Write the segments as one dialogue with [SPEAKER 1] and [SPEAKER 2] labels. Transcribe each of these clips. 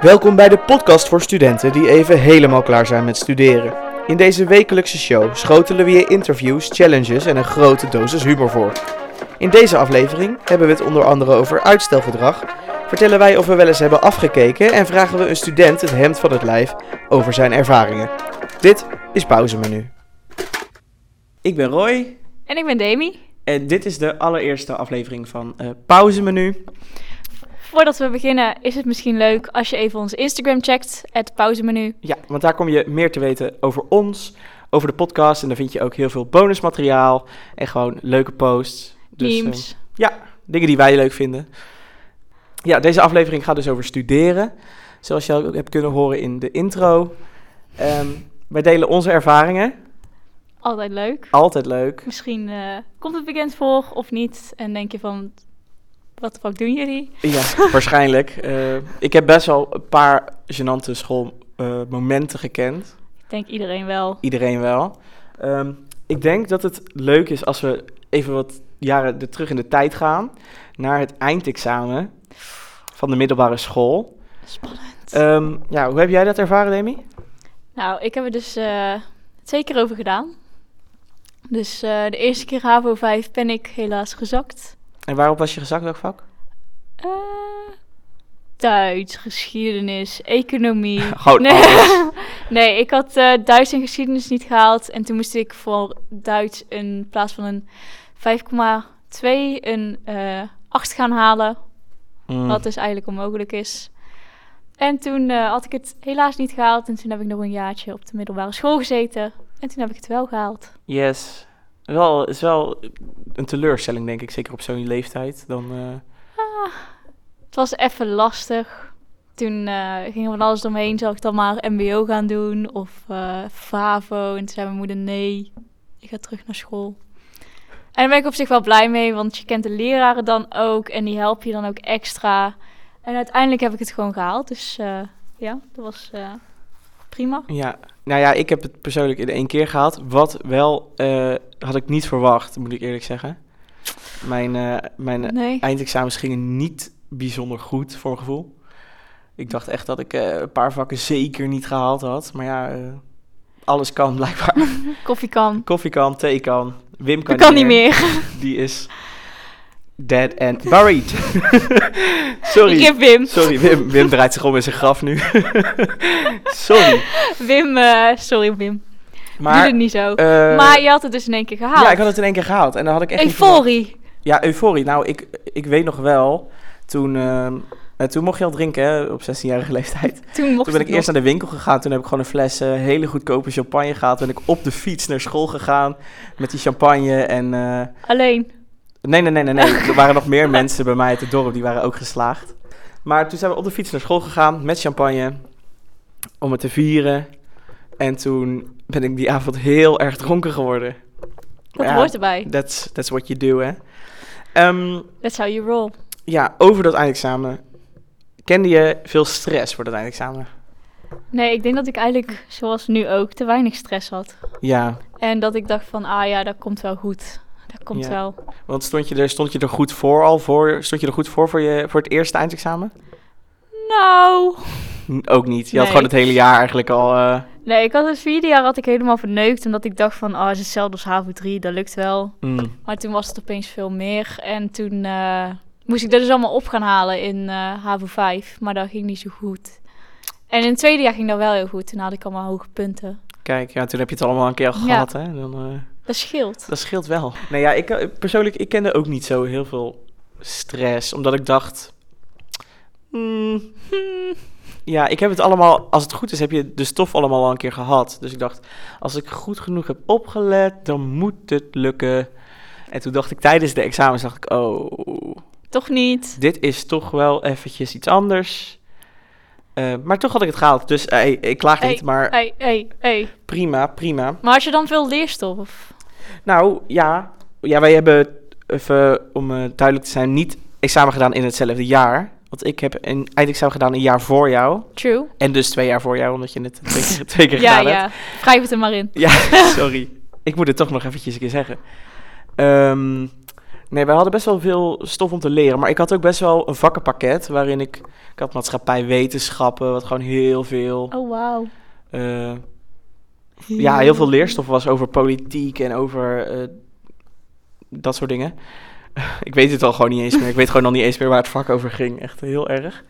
[SPEAKER 1] Welkom bij de podcast voor studenten die even helemaal klaar zijn met studeren. In deze wekelijkse show schotelen we je interviews, challenges en een grote dosis humor voor. In deze aflevering hebben we het onder andere over uitstelgedrag, vertellen wij of we wel eens hebben afgekeken en vragen we een student het hemd van het lijf over zijn ervaringen. Dit is Pauzemenu. Ik ben Roy
[SPEAKER 2] En ik ben Demi.
[SPEAKER 1] en dit is de allereerste aflevering van eh, Pauzemenu.
[SPEAKER 2] Voordat we beginnen is het misschien leuk als je even onze Instagram checkt, het pauzemenu.
[SPEAKER 1] Ja, want daar kom je meer te weten over ons, over de podcast. En dan vind je ook heel veel bonusmateriaal en gewoon leuke posts. eh,
[SPEAKER 2] memes.
[SPEAKER 1] dingen die wij leuk vinden. Ja, deze aflevering gaat dus over studeren. Zoals je ook hebt kunnen horen in de intro. Ehm, wij delen onze ervaringen.
[SPEAKER 2] Altijd leuk.
[SPEAKER 1] Altijd leuk.
[SPEAKER 2] Misschien eh, komt het bekend voor of niet. En denk je van, wat de fuck doen jullie?
[SPEAKER 1] Ja, waarschijnlijk. Eh, ik heb best wel een paar gênante schoolmomenten gekend.
[SPEAKER 2] Ik denk iedereen wel.
[SPEAKER 1] iedereen wel. Ehm, ik denk dat het leuk is als we even wat jaren de, terug in de tijd gaan naar het eindexamen van de middelbare school.
[SPEAKER 2] Spannend.
[SPEAKER 1] Ehm, ja, hoe heb jij dat ervaren, Demi?
[SPEAKER 2] Nou, ik heb er dus eh, het twee keer over gedaan. Dus eh, de eerste keer HAVO 5 ben ik helaas gezakt.
[SPEAKER 1] En waarop was je gezakt welk vak?
[SPEAKER 2] Eh, Duits, geschiedenis, economie.
[SPEAKER 1] Gewoon
[SPEAKER 2] Nee.
[SPEAKER 1] alles.
[SPEAKER 2] Nee, ik had eh, Duits en geschiedenis niet gehaald. En toen moest ik voor Duits in plaats van een 5,2 een eh 8 gaan halen.
[SPEAKER 1] Mm.
[SPEAKER 2] Wat dus eigenlijk onmogelijk is. En toen eh, had ik het helaas niet gehaald. En toen heb ik nog een jaartje op de middelbare school gezeten. En toen heb ik het wel gehaald.
[SPEAKER 1] Yes. Wel, is wel een teleurstelling, denk ik, zeker op zo'n leeftijd. Dan, eh,
[SPEAKER 2] Ah, Het was even lastig. Toen eh ging er van alles omheen. Zal ik dan maar MBO gaan doen of eh FAVO? En toen zei mijn moeder: Nee, ik ga terug naar school. En daar ben ik op zich wel blij mee, want je kent de leraren dan ook en die helpen je dan ook extra. En uiteindelijk heb ik het gewoon gehaald. Dus eh, ja, dat was eh, prima.
[SPEAKER 1] ja. Nou ja, ik heb het persoonlijk in één keer gehad. Wat wel eh, had ik niet verwacht, moet ik eerlijk zeggen. Mijn, eh, mijn
[SPEAKER 2] Nee.
[SPEAKER 1] eindexamens gingen niet bijzonder goed, voor mijn gevoel. Ik dacht echt dat ik eh, een paar vakken zeker niet gehaald had. Maar ja, eh, alles kan blijkbaar.
[SPEAKER 2] Koffie kan.
[SPEAKER 1] Koffie kan, thee kan. Wim kan,
[SPEAKER 2] Dat kan niet meer.
[SPEAKER 1] Die is dead and buried. Sorry.
[SPEAKER 2] Ik heb Wim.
[SPEAKER 1] Sorry, Wim, Wim draait zich om in zijn graf nu. Sorry.
[SPEAKER 2] Wim, eh, sorry Wim. Doe
[SPEAKER 1] Maar,
[SPEAKER 2] het niet zo.
[SPEAKER 1] eh,
[SPEAKER 2] maar je had het dus in één keer gehaald.
[SPEAKER 1] ja, ik had het in één keer gehaald. En dan had ik echt niet verwacht.
[SPEAKER 2] Euforie.
[SPEAKER 1] Ja, euforie. Nou, ik, ik weet nog wel, toen, ehm, eh, toen mocht je al drinken hè, op 16-jarige leeftijd.
[SPEAKER 2] Toen mocht
[SPEAKER 1] Toen ben ik
[SPEAKER 2] het
[SPEAKER 1] eerst naar de winkel gegaan. Toen heb ik gewoon een fles eh, hele goedkope champagne gehaald. Toen ben ik op de fiets naar school gegaan met die champagne. En eh,
[SPEAKER 2] nog. alleen.
[SPEAKER 1] nee, nee, nee, nee, nee. Er waren nog meer mensen bij mij uit het dorp. Die waren ook geslaagd. Maar toen zijn we op de fiets naar school gegaan met champagne. Om het te vieren. En toen ben ik die avond heel erg dronken geworden.
[SPEAKER 2] Dat
[SPEAKER 1] Ja,
[SPEAKER 2] hoort erbij.
[SPEAKER 1] That's, that's what you do, hè. Ehm,
[SPEAKER 2] That's how you roll.
[SPEAKER 1] ja, over dat eindexamen. Kende je veel stress voor dat eindexamen?
[SPEAKER 2] Nee, ik denk dat ik eigenlijk, zoals nu ook, te weinig stress had.
[SPEAKER 1] Ja,
[SPEAKER 2] En dat ik dacht van, ah ja, dat komt wel goed. Dat komt
[SPEAKER 1] Ja.
[SPEAKER 2] wel.
[SPEAKER 1] Want stond je er, stond je er goed voor al voor? Stond je er goed voor voor, je, voor het eerste eindexamen?
[SPEAKER 2] Nou.
[SPEAKER 1] N- ook niet. Je had
[SPEAKER 2] Nee.
[SPEAKER 1] gewoon het hele jaar eigenlijk al. eh,
[SPEAKER 2] Nee, ik had het vierde jaar had ik helemaal verneukt. Omdat ik dacht van, ah, het is hetzelfde als HAVO 3, dat lukt wel.
[SPEAKER 1] mm,
[SPEAKER 2] Maar toen was het opeens veel meer. En toen eh, moest ik dat dus allemaal op gaan halen in eh HAVO 5. Maar dat ging niet zo goed. En in het tweede jaar ging dat wel heel goed. Toen had ik allemaal hoge punten.
[SPEAKER 1] Kijk, ja, toen heb je het allemaal een keer al
[SPEAKER 2] Ja.
[SPEAKER 1] gehad. Hè? Dan, eh,
[SPEAKER 2] Dat scheelt.
[SPEAKER 1] dat scheelt wel. Nee, ja, ik, eh, persoonlijk, ik kende ook niet zo heel veel stress. Omdat ik dacht. mm, ja, ik heb het allemaal. Als het goed is, heb je de stof allemaal al een keer gehad. Dus ik dacht, als ik goed genoeg heb opgelet, dan moet het lukken. En toen dacht ik tijdens de examens, dacht ik, oh.
[SPEAKER 2] Toch niet.
[SPEAKER 1] dit is toch wel eventjes iets anders. Eh, maar toch had ik het gehaald. Dus eh, ik klaag
[SPEAKER 2] Hey,
[SPEAKER 1] niet, maar
[SPEAKER 2] Hey, hey, hey.
[SPEAKER 1] prima, prima.
[SPEAKER 2] Maar had je dan veel leerstof?
[SPEAKER 1] Nou ja, ja wij hebben, even om eh, duidelijk te zijn, niet examen gedaan in hetzelfde jaar. Want ik heb een eindexamen gedaan een jaar voor jou.
[SPEAKER 2] True.
[SPEAKER 1] En dus twee jaar voor jou, omdat je het twee keer, twee keer
[SPEAKER 2] Ja,
[SPEAKER 1] gedaan hebt.
[SPEAKER 2] ja. Wrijf het er maar in.
[SPEAKER 1] Ja, sorry. Ik moet het toch nog eventjes een keer zeggen. Ehm, Nee, wij hadden best wel veel stof om te leren. Maar ik had ook best wel een vakkenpakket waarin ik... Ik had maatschappij, wetenschappen, wat gewoon heel veel...
[SPEAKER 2] Oh, wauw.
[SPEAKER 1] eh, ja, heel veel leerstof was over politiek en over eh, dat soort dingen. ik weet het al gewoon niet eens meer. Ik weet gewoon al niet eens meer waar het vak over ging. Echt heel erg.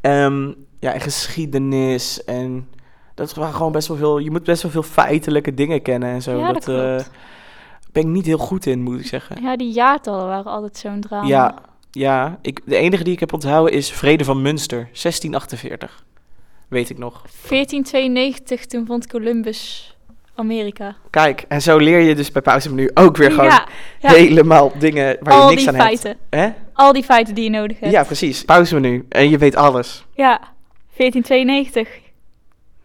[SPEAKER 1] Ehm, ja, en geschiedenis en dat waren gewoon best wel veel. Je moet best wel veel feitelijke dingen kennen en zo.
[SPEAKER 2] Ja, dat
[SPEAKER 1] eh,
[SPEAKER 2] klopt.
[SPEAKER 1] ben ik niet heel goed in, moet ik zeggen.
[SPEAKER 2] Ja, die jaartallen waren altijd zo'n drama.
[SPEAKER 1] eh, Ja, ja ik, de enige die ik heb onthouden is Vrede van Münster, 1648. Weet ik nog.
[SPEAKER 2] 1492, toen vond Columbus Amerika.
[SPEAKER 1] Kijk, en zo leer je dus bij pauzemenu ook weer gewoon
[SPEAKER 2] ja, ja.
[SPEAKER 1] helemaal dingen waar je
[SPEAKER 2] al
[SPEAKER 1] niks
[SPEAKER 2] die
[SPEAKER 1] aan
[SPEAKER 2] feiten.
[SPEAKER 1] hebt.
[SPEAKER 2] Al die feiten die je nodig
[SPEAKER 1] Hè?
[SPEAKER 2] hebt.
[SPEAKER 1] Ja, precies. Pauzemenu. En je weet alles.
[SPEAKER 2] Ja, 1492.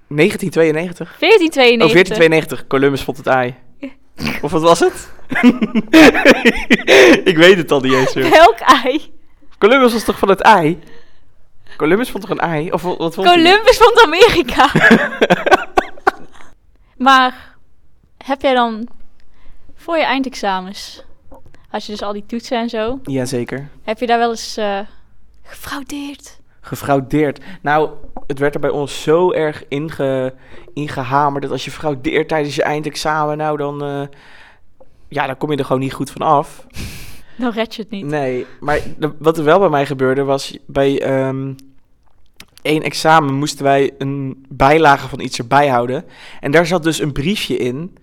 [SPEAKER 1] 1992.
[SPEAKER 2] 1492.
[SPEAKER 1] Oh, 1492. Columbus vond het ei. Of wat was het? ik weet het al niet eens meer.
[SPEAKER 2] Welk ei?
[SPEAKER 1] Columbus was toch van het ei? Columbus vond toch een ei? Of wat wat vond hij?
[SPEAKER 2] Columbus vond Amerika. maar heb jij dan voor je eindexamens, als je dus al die toetsen en zo,
[SPEAKER 1] Jazeker.
[SPEAKER 2] heb je daar wel eens eh, gefraudeerd?
[SPEAKER 1] Gefraudeerd. Nou, het werd er bij ons zo erg inge, ingehamerd dat als je fraudeert tijdens je eindexamen, nou dan, eh, ja, dan kom je er gewoon niet goed van af.
[SPEAKER 2] Dan red je het niet.
[SPEAKER 1] Nee, maar de- wat er wel bij mij gebeurde was bij ehm één examen moesten wij een bijlage van iets erbij houden. En daar zat dus een briefje in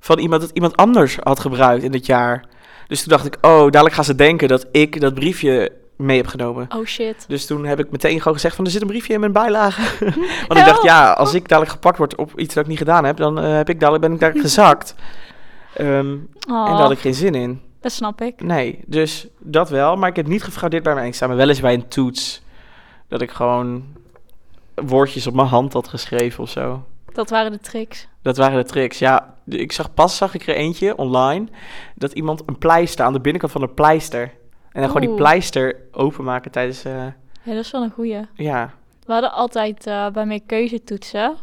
[SPEAKER 1] van iemand dat iemand anders had gebruikt in het jaar. Dus toen dacht ik, oh, dadelijk gaan ze denken dat ik dat briefje mee heb genomen.
[SPEAKER 2] Oh shit.
[SPEAKER 1] Dus toen heb ik meteen gewoon gezegd van, er zit een briefje in mijn bijlage. Want ik
[SPEAKER 2] Help.
[SPEAKER 1] dacht, ja, als ik dadelijk gepakt word op iets dat ik niet gedaan heb, dan eh, heb ik dadelijk, ben ik dadelijk gezakt. Ehm,
[SPEAKER 2] Oh,
[SPEAKER 1] En daar had ik geen zin in.
[SPEAKER 2] dat snap ik.
[SPEAKER 1] Nee, dus dat wel. Maar ik heb niet gefraudeerd bij mijn examen. Wel eens bij een toets. Dat ik gewoon woordjes op mijn hand had geschreven of zo.
[SPEAKER 2] Dat waren de tricks.
[SPEAKER 1] Dat waren de tricks. Ja, d- ik zag pas zag ik er eentje online. Dat iemand een pleister aan de binnenkant van een pleister. En dan gewoon die
[SPEAKER 2] Oeh.
[SPEAKER 1] pleister openmaken tijdens. eh,
[SPEAKER 2] Ja, dat is wel een goeie.
[SPEAKER 1] ja.
[SPEAKER 2] We hadden altijd eh, bij mijn keuzetoetsen.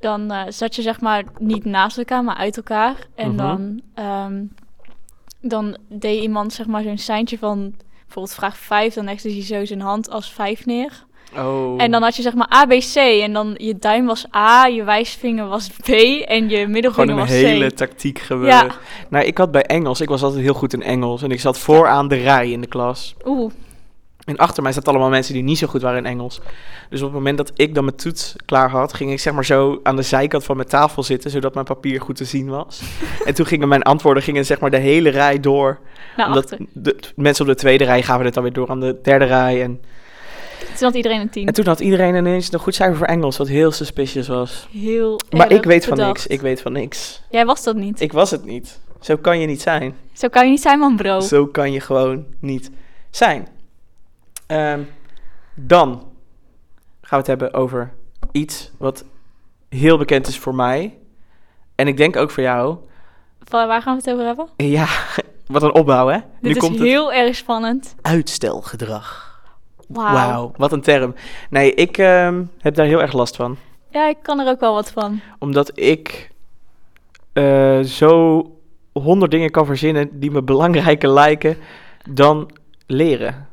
[SPEAKER 2] Dan eh, zat je zeg maar niet naast elkaar, maar uit elkaar. En
[SPEAKER 1] Mhm.
[SPEAKER 2] dan, ehm, dan deed iemand zeg maar zo'n seintje van bijvoorbeeld vraag 5. Dan legde hij zo zijn hand als 5 neer.
[SPEAKER 1] Oh.
[SPEAKER 2] En dan had je zeg maar ABC. En dan je duim was A, je wijsvinger was B en je
[SPEAKER 1] Gewoon
[SPEAKER 2] middelvinger
[SPEAKER 1] een
[SPEAKER 2] was
[SPEAKER 1] hele
[SPEAKER 2] C.
[SPEAKER 1] tactiek gebeuren.
[SPEAKER 2] Ja,
[SPEAKER 1] Nou, ik had bij Engels. Ik was altijd heel goed in Engels. En ik zat vooraan de rij in de klas.
[SPEAKER 2] oeh.
[SPEAKER 1] En achter mij zaten allemaal mensen die niet zo goed waren in Engels. Dus op het moment dat ik dan mijn toets klaar had, ging ik zeg maar zo aan de zijkant van mijn tafel zitten, zodat mijn papier goed te zien was. en toen gingen mijn antwoorden gingen zeg maar de hele rij door.
[SPEAKER 2] Naar
[SPEAKER 1] omdat
[SPEAKER 2] achter.
[SPEAKER 1] de, t- mensen op de tweede rij gaven het dan weer door aan de derde rij. En,
[SPEAKER 2] Toen had iedereen een 10.
[SPEAKER 1] en toen had iedereen ineens een goed cijfer voor Engels, wat heel suspicious was.
[SPEAKER 2] Heel
[SPEAKER 1] Maar
[SPEAKER 2] erg
[SPEAKER 1] ik weet van
[SPEAKER 2] bedacht.
[SPEAKER 1] niks, ik weet van niks.
[SPEAKER 2] Jij was dat niet.
[SPEAKER 1] Ik was het niet. Zo kan je niet zijn.
[SPEAKER 2] Zo kan je niet zijn, man, bro.
[SPEAKER 1] Zo kan je gewoon niet zijn. Ehm, dan gaan we het hebben over iets wat heel bekend is voor mij. En ik denk ook voor jou.
[SPEAKER 2] Waar waar gaan we het over hebben?
[SPEAKER 1] Ja, wat een opbouw, hè?
[SPEAKER 2] Dit is heel erg spannend.
[SPEAKER 1] het uitstelgedrag.
[SPEAKER 2] Wauw.
[SPEAKER 1] Wauw, wat een term. Nee, ik ehm, heb daar heel erg last van.
[SPEAKER 2] Ja, ik kan er ook wel wat van.
[SPEAKER 1] Omdat ik eh, zo honderd dingen kan verzinnen die me belangrijker lijken dan leren.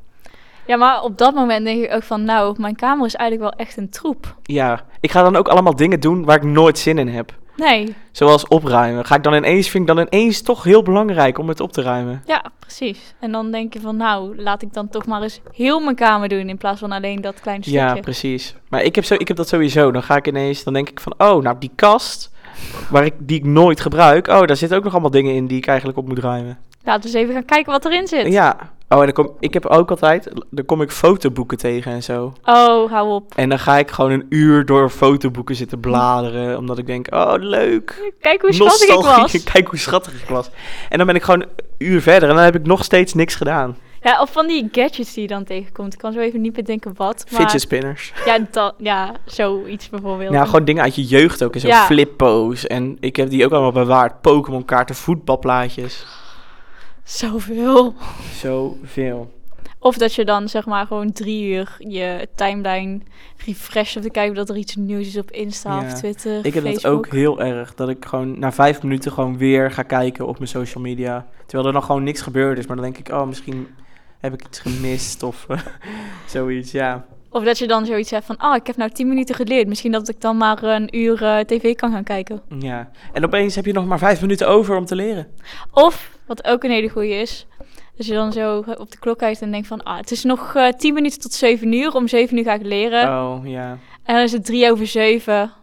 [SPEAKER 2] Ja, maar op dat moment denk ik ook van, nou, mijn kamer is eigenlijk wel echt een troep.
[SPEAKER 1] Ja, ik ga dan ook allemaal dingen doen waar ik nooit zin in heb.
[SPEAKER 2] Nee,
[SPEAKER 1] Zoals opruimen. Ga ik dan ineens, vind ik dan ineens toch heel belangrijk om het op te ruimen.
[SPEAKER 2] ja, precies. En dan denk je van, nou, laat ik dan toch maar eens heel mijn kamer doen in plaats van alleen dat kleine stukje.
[SPEAKER 1] Ja, precies. Maar ik heb, zo, ik heb dat sowieso. Dan ga ik ineens, dan denk ik van, oh, nou die kast waar ik, die ik nooit gebruik. Oh, daar zitten ook nog allemaal dingen in die ik eigenlijk op moet ruimen.
[SPEAKER 2] Laten we eens even gaan kijken wat erin zit.
[SPEAKER 1] Ja. Oh, en dan kom, ik heb ook altijd, dan kom ik fotoboeken tegen en zo.
[SPEAKER 2] Oh, hou op.
[SPEAKER 1] En dan ga ik gewoon een uur door fotoboeken zitten bladeren. Omdat ik denk, oh leuk.
[SPEAKER 2] Kijk hoe schattig ik
[SPEAKER 1] Nostalgie.
[SPEAKER 2] was.
[SPEAKER 1] Kijk hoe schattig ik was. En dan ben ik gewoon een uur verder en dan heb ik nog steeds niks gedaan.
[SPEAKER 2] Ja, of van die gadgets die je dan tegenkomt. Ik kan zo even niet bedenken wat, maar...
[SPEAKER 1] Fidget spinners.
[SPEAKER 2] Ja, dat, ja, zoiets bijvoorbeeld.
[SPEAKER 1] Ja, gewoon dingen uit je jeugd ook. En zo
[SPEAKER 2] Ja.
[SPEAKER 1] flippo's. En ik heb die ook allemaal bewaard. Pokémon kaarten, voetbalplaatjes.
[SPEAKER 2] Zoveel.
[SPEAKER 1] Zoveel.
[SPEAKER 2] Of dat je dan zeg maar gewoon drie uur je timeline refresht om te kijken of dat er iets nieuws is op Insta
[SPEAKER 1] Ja.
[SPEAKER 2] of Twitter.
[SPEAKER 1] Ik heb dat ook heel erg. Dat ik gewoon na vijf minuten gewoon weer ga kijken op mijn social media. Terwijl er nog gewoon niks gebeurd is. Maar dan denk ik, oh, misschien heb ik iets gemist of eh, zoiets. Ja.
[SPEAKER 2] Of dat je dan zoiets hebt van, ah, ik heb nou tien minuten geleerd. Misschien dat ik dan maar een uur eh, tv kan gaan kijken.
[SPEAKER 1] ja. En opeens heb je nog maar vijf minuten over om te leren.
[SPEAKER 2] Of, wat ook een hele goeie is, als je dan zo op de klok kijkt en denkt van, ah, het is nog eh, tien minuten tot zeven uur. Om zeven uur ga ik leren.
[SPEAKER 1] Oh, ja.
[SPEAKER 2] En dan is het drie over zeven. En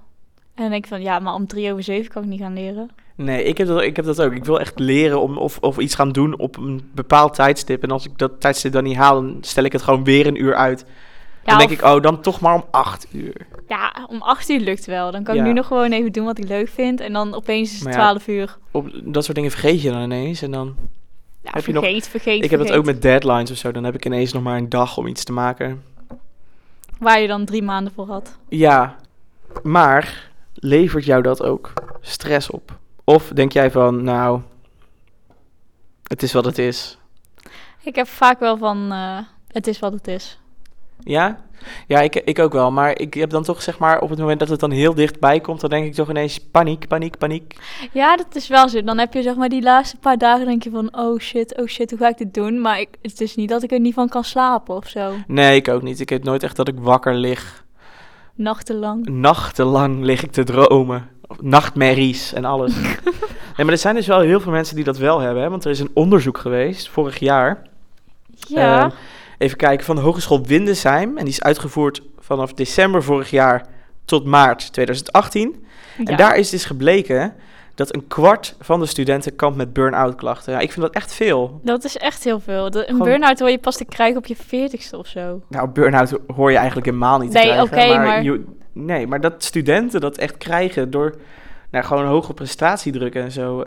[SPEAKER 2] dan denk ik van, ja, maar om drie over zeven kan ik niet gaan leren.
[SPEAKER 1] Nee, ik heb, dat, ik heb dat ook. Ik wil echt leren om, of, of iets gaan doen op een bepaald tijdstip. En als ik dat tijdstip dan niet haal, dan stel ik het gewoon weer een uur uit.
[SPEAKER 2] Ja,
[SPEAKER 1] dan denk
[SPEAKER 2] of-
[SPEAKER 1] ik, oh, dan toch maar om acht uur.
[SPEAKER 2] ja, om acht uur lukt wel. Dan kan
[SPEAKER 1] Ja.
[SPEAKER 2] ik nu nog gewoon even doen wat ik leuk vind. En dan opeens is het
[SPEAKER 1] Maar ja,
[SPEAKER 2] twaalf uur.
[SPEAKER 1] Op, dat soort dingen vergeet je dan ineens. En dan,
[SPEAKER 2] Ja,
[SPEAKER 1] heb je nog-
[SPEAKER 2] vergeet, vergeet,
[SPEAKER 1] ik heb dat
[SPEAKER 2] vergeet.
[SPEAKER 1] ook met deadlines of zo. Dan heb ik ineens nog maar een dag om iets te maken.
[SPEAKER 2] Waar je dan drie maanden voor had.
[SPEAKER 1] Ja, maar levert jou dat ook stress op? Of denk jij van, nou, het is wat het is.
[SPEAKER 2] Ik heb vaak wel van, eh, het is wat het is.
[SPEAKER 1] Ja? Ja, ik, ik ook wel. Maar ik heb dan toch, zeg maar, op het moment dat het dan heel dichtbij komt, dan denk ik toch ineens paniek, paniek, paniek.
[SPEAKER 2] Ja, dat is wel zo. Dan heb je zeg maar die laatste paar dagen denk je van, oh shit, oh shit, hoe ga ik dit doen? Maar ik, het is niet dat ik er niet van kan slapen of zo.
[SPEAKER 1] Nee, ik ook niet. Ik heb nooit echt dat ik wakker lig.
[SPEAKER 2] Nachtenlang.
[SPEAKER 1] Nachtenlang lig ik te dromen. Nachtmerries en alles. nee, maar er zijn dus wel heel veel mensen die dat wel hebben. Hè? Want er is een onderzoek geweest vorig jaar.
[SPEAKER 2] Ja.
[SPEAKER 1] Ehm, even kijken, van de Hogeschool Windesheim. En die is uitgevoerd vanaf december vorig jaar tot maart 2018.
[SPEAKER 2] ja.
[SPEAKER 1] En daar is dus gebleken dat een kwart van de studenten kampt met burn-out klachten. Ja, ik vind dat echt veel.
[SPEAKER 2] Dat is echt heel veel. De- een
[SPEAKER 1] Gewoon-
[SPEAKER 2] burn-out hoor je pas te krijgen op je veertigste of zo.
[SPEAKER 1] Nou, burn-out hoor je eigenlijk helemaal niet te
[SPEAKER 2] Nee,
[SPEAKER 1] krijgen.
[SPEAKER 2] oké, maar-
[SPEAKER 1] je- nee, maar dat studenten dat echt krijgen door nou, gewoon hoge prestatiedruk en zo.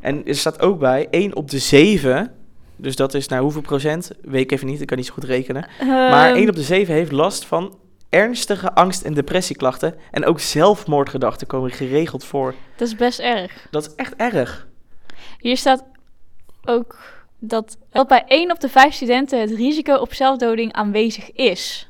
[SPEAKER 1] En er staat ook bij, 1 op de 7, dus dat is nou hoeveel procent? Weet ik even niet, ik kan niet zo goed rekenen.
[SPEAKER 2] Ehm.
[SPEAKER 1] Maar 1 op de 7 heeft last van ernstige angst- en depressieklachten. En ook zelfmoordgedachten komen geregeld voor.
[SPEAKER 2] Dat is best erg.
[SPEAKER 1] Dat is echt erg.
[SPEAKER 2] Hier staat ook dat, dat bij 1 op de 5 studenten het risico op zelfdoding aanwezig is.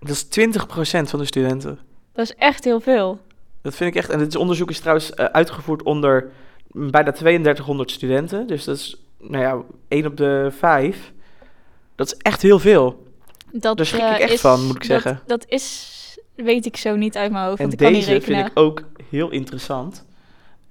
[SPEAKER 1] Dat is 20% van de studenten.
[SPEAKER 2] Dat is echt heel veel.
[SPEAKER 1] Dat vind ik echt. En dit onderzoek is trouwens eh, uitgevoerd onder mm, bijna 3200 studenten. Dus dat is, nou ja, 1 op de 5. Dat is echt heel veel.
[SPEAKER 2] Dat,
[SPEAKER 1] Daar schrik ik
[SPEAKER 2] eh,
[SPEAKER 1] echt
[SPEAKER 2] is-
[SPEAKER 1] van, moet ik
[SPEAKER 2] dat-
[SPEAKER 1] zeggen.
[SPEAKER 2] Dat is, weet ik zo niet uit mijn hoofd,
[SPEAKER 1] en
[SPEAKER 2] want ik kan niet
[SPEAKER 1] deze
[SPEAKER 2] rekenen.
[SPEAKER 1] vind ik ook heel interessant.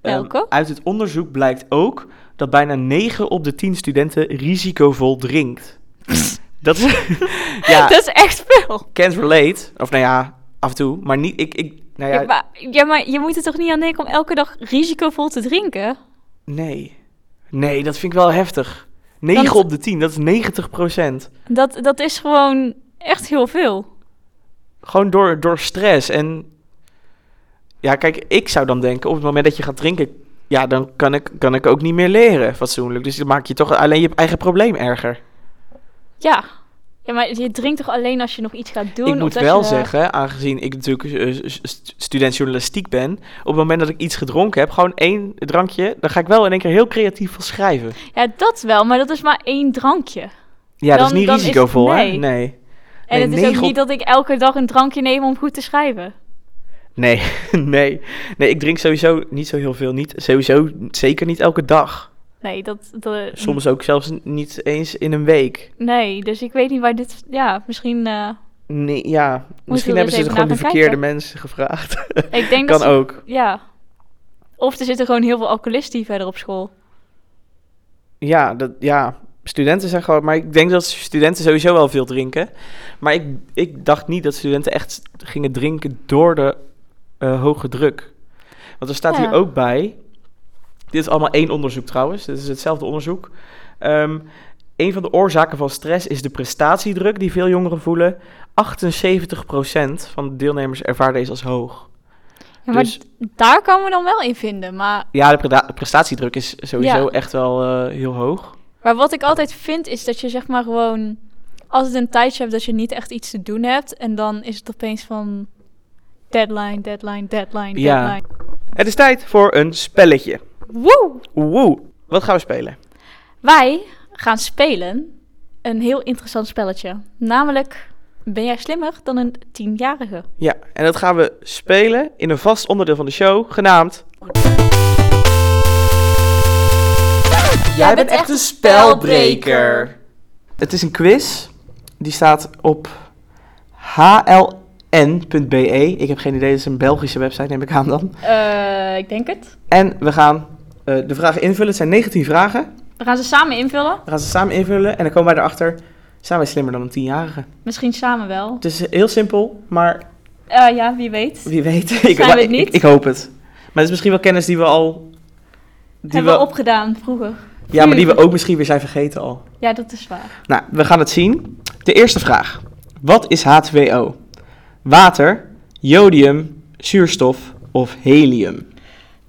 [SPEAKER 1] Ehm,
[SPEAKER 2] Welke?
[SPEAKER 1] uit het onderzoek blijkt ook dat bijna 9 op de 10 studenten risicovol drinkt. dat is. ja,
[SPEAKER 2] Dat is echt veel.
[SPEAKER 1] can't relate. Of nou ja, af en toe. Maar niet. Ik, ik, nou
[SPEAKER 2] Ja.
[SPEAKER 1] ja,
[SPEAKER 2] maar, ja, maar je moet er toch niet aan denken om elke dag risicovol te drinken?
[SPEAKER 1] Nee. Nee, dat vind ik wel heftig. 9
[SPEAKER 2] Dan-
[SPEAKER 1] op de 10, dat is 90
[SPEAKER 2] Dat, dat is gewoon echt heel veel.
[SPEAKER 1] Gewoon door, door stress. En ja, kijk, ik zou dan denken, op het moment dat je gaat drinken, ja, dan kan ik, kan ik ook niet meer leren fatsoenlijk. Dus dan maak je toch alleen je eigen probleem erger.
[SPEAKER 2] Ja. Ja, maar je drinkt toch alleen als je nog iets gaat doen?
[SPEAKER 1] ik
[SPEAKER 2] of
[SPEAKER 1] moet
[SPEAKER 2] dat
[SPEAKER 1] wel
[SPEAKER 2] je-
[SPEAKER 1] zeggen, aangezien ik natuurlijk eh, s- s- student journalistiek ben, op het moment dat ik iets gedronken heb, gewoon één drankje, dan ga ik wel in één keer heel creatief van schrijven.
[SPEAKER 2] Ja, dat wel, maar dat is maar één drankje.
[SPEAKER 1] Ja, dat is
[SPEAKER 2] Dan-
[SPEAKER 1] niet
[SPEAKER 2] dan is het
[SPEAKER 1] risicovol, hè?
[SPEAKER 2] nee.
[SPEAKER 1] Nee.
[SPEAKER 2] En
[SPEAKER 1] Nee,
[SPEAKER 2] het is
[SPEAKER 1] negen
[SPEAKER 2] ook
[SPEAKER 1] op-
[SPEAKER 2] niet dat ik elke dag een drankje neem om goed te schrijven.
[SPEAKER 1] Nee, nee. Nee, ik drink sowieso niet zo heel veel. Niet, sowieso zeker niet elke dag.
[SPEAKER 2] Nee, dat... dat
[SPEAKER 1] Soms ook zelfs niet eens in een week.
[SPEAKER 2] Nee, dus ik weet niet waar dit... Ja, misschien... eh,
[SPEAKER 1] Nee, ja. Misschien
[SPEAKER 2] we
[SPEAKER 1] hebben
[SPEAKER 2] er
[SPEAKER 1] ze het
[SPEAKER 2] eens even
[SPEAKER 1] gewoon de
[SPEAKER 2] naar gaan
[SPEAKER 1] verkeerde
[SPEAKER 2] kijken?
[SPEAKER 1] mensen gevraagd.
[SPEAKER 2] ik denk dat
[SPEAKER 1] kan
[SPEAKER 2] ze-
[SPEAKER 1] ook.
[SPEAKER 2] Ja. Of er zitten gewoon heel veel alcoholisten verder op school.
[SPEAKER 1] Ja, dat, ja, studenten zijn gewoon... Maar ik denk dat studenten sowieso wel veel drinken. Maar ik, ik dacht niet dat studenten echt gingen drinken door de eh, hoge druk. Want er staat
[SPEAKER 2] Ja.
[SPEAKER 1] hier ook bij... Dit is allemaal één onderzoek trouwens. Dit is hetzelfde onderzoek. Ehm, een van de oorzaken van stress is de prestatiedruk die veel jongeren voelen. 78% van de deelnemers ervaart deze als hoog.
[SPEAKER 2] Ja, maar
[SPEAKER 1] Dus-
[SPEAKER 2] d- daar kan we dan wel in vinden. Maar,
[SPEAKER 1] Ja, de preda- prestatiedruk is sowieso
[SPEAKER 2] Ja.
[SPEAKER 1] echt wel eh, heel hoog.
[SPEAKER 2] maar wat ik altijd vind is dat je zeg maar gewoon... Als het een tijdje hebt dat je niet echt iets te doen hebt... En dan is het opeens van... Deadline, deadline, deadline,
[SPEAKER 1] Ja.
[SPEAKER 2] deadline.
[SPEAKER 1] Het is tijd voor een spelletje.
[SPEAKER 2] Woe!
[SPEAKER 1] Woe, wat gaan we spelen?
[SPEAKER 2] Wij gaan spelen een heel interessant spelletje. Namelijk, ben jij slimmer dan een tienjarige?
[SPEAKER 1] Ja, en dat gaan we spelen in een vast onderdeel van de show, genaamd...
[SPEAKER 2] Jij bent echt een spelbreker.
[SPEAKER 1] Het is een quiz, die staat op hln.be. Ik heb geen idee, dat is een Belgische website, neem ik aan dan.
[SPEAKER 2] Eh, ik denk het.
[SPEAKER 1] En we gaan eh, de vragen invullen. Het zijn 19 vragen.
[SPEAKER 2] We gaan ze samen invullen.
[SPEAKER 1] We gaan ze samen invullen en dan komen wij erachter... Zijn wij slimmer dan een 10-jarige?
[SPEAKER 2] Misschien samen wel.
[SPEAKER 1] Het is heel simpel, maar
[SPEAKER 2] Eh, ja, wie weet.
[SPEAKER 1] Wie weet. Ik,
[SPEAKER 2] we het
[SPEAKER 1] ik-
[SPEAKER 2] niet?
[SPEAKER 1] Ik, hoop het. Maar het is misschien wel kennis die we al. Die
[SPEAKER 2] Hebben we opgedaan vroeger.
[SPEAKER 1] ja, maar die we ook misschien weer zijn vergeten al.
[SPEAKER 2] Ja, dat is waar.
[SPEAKER 1] Nou, we gaan het zien. De eerste vraag: Wat is H2O? Water, jodium, zuurstof of helium?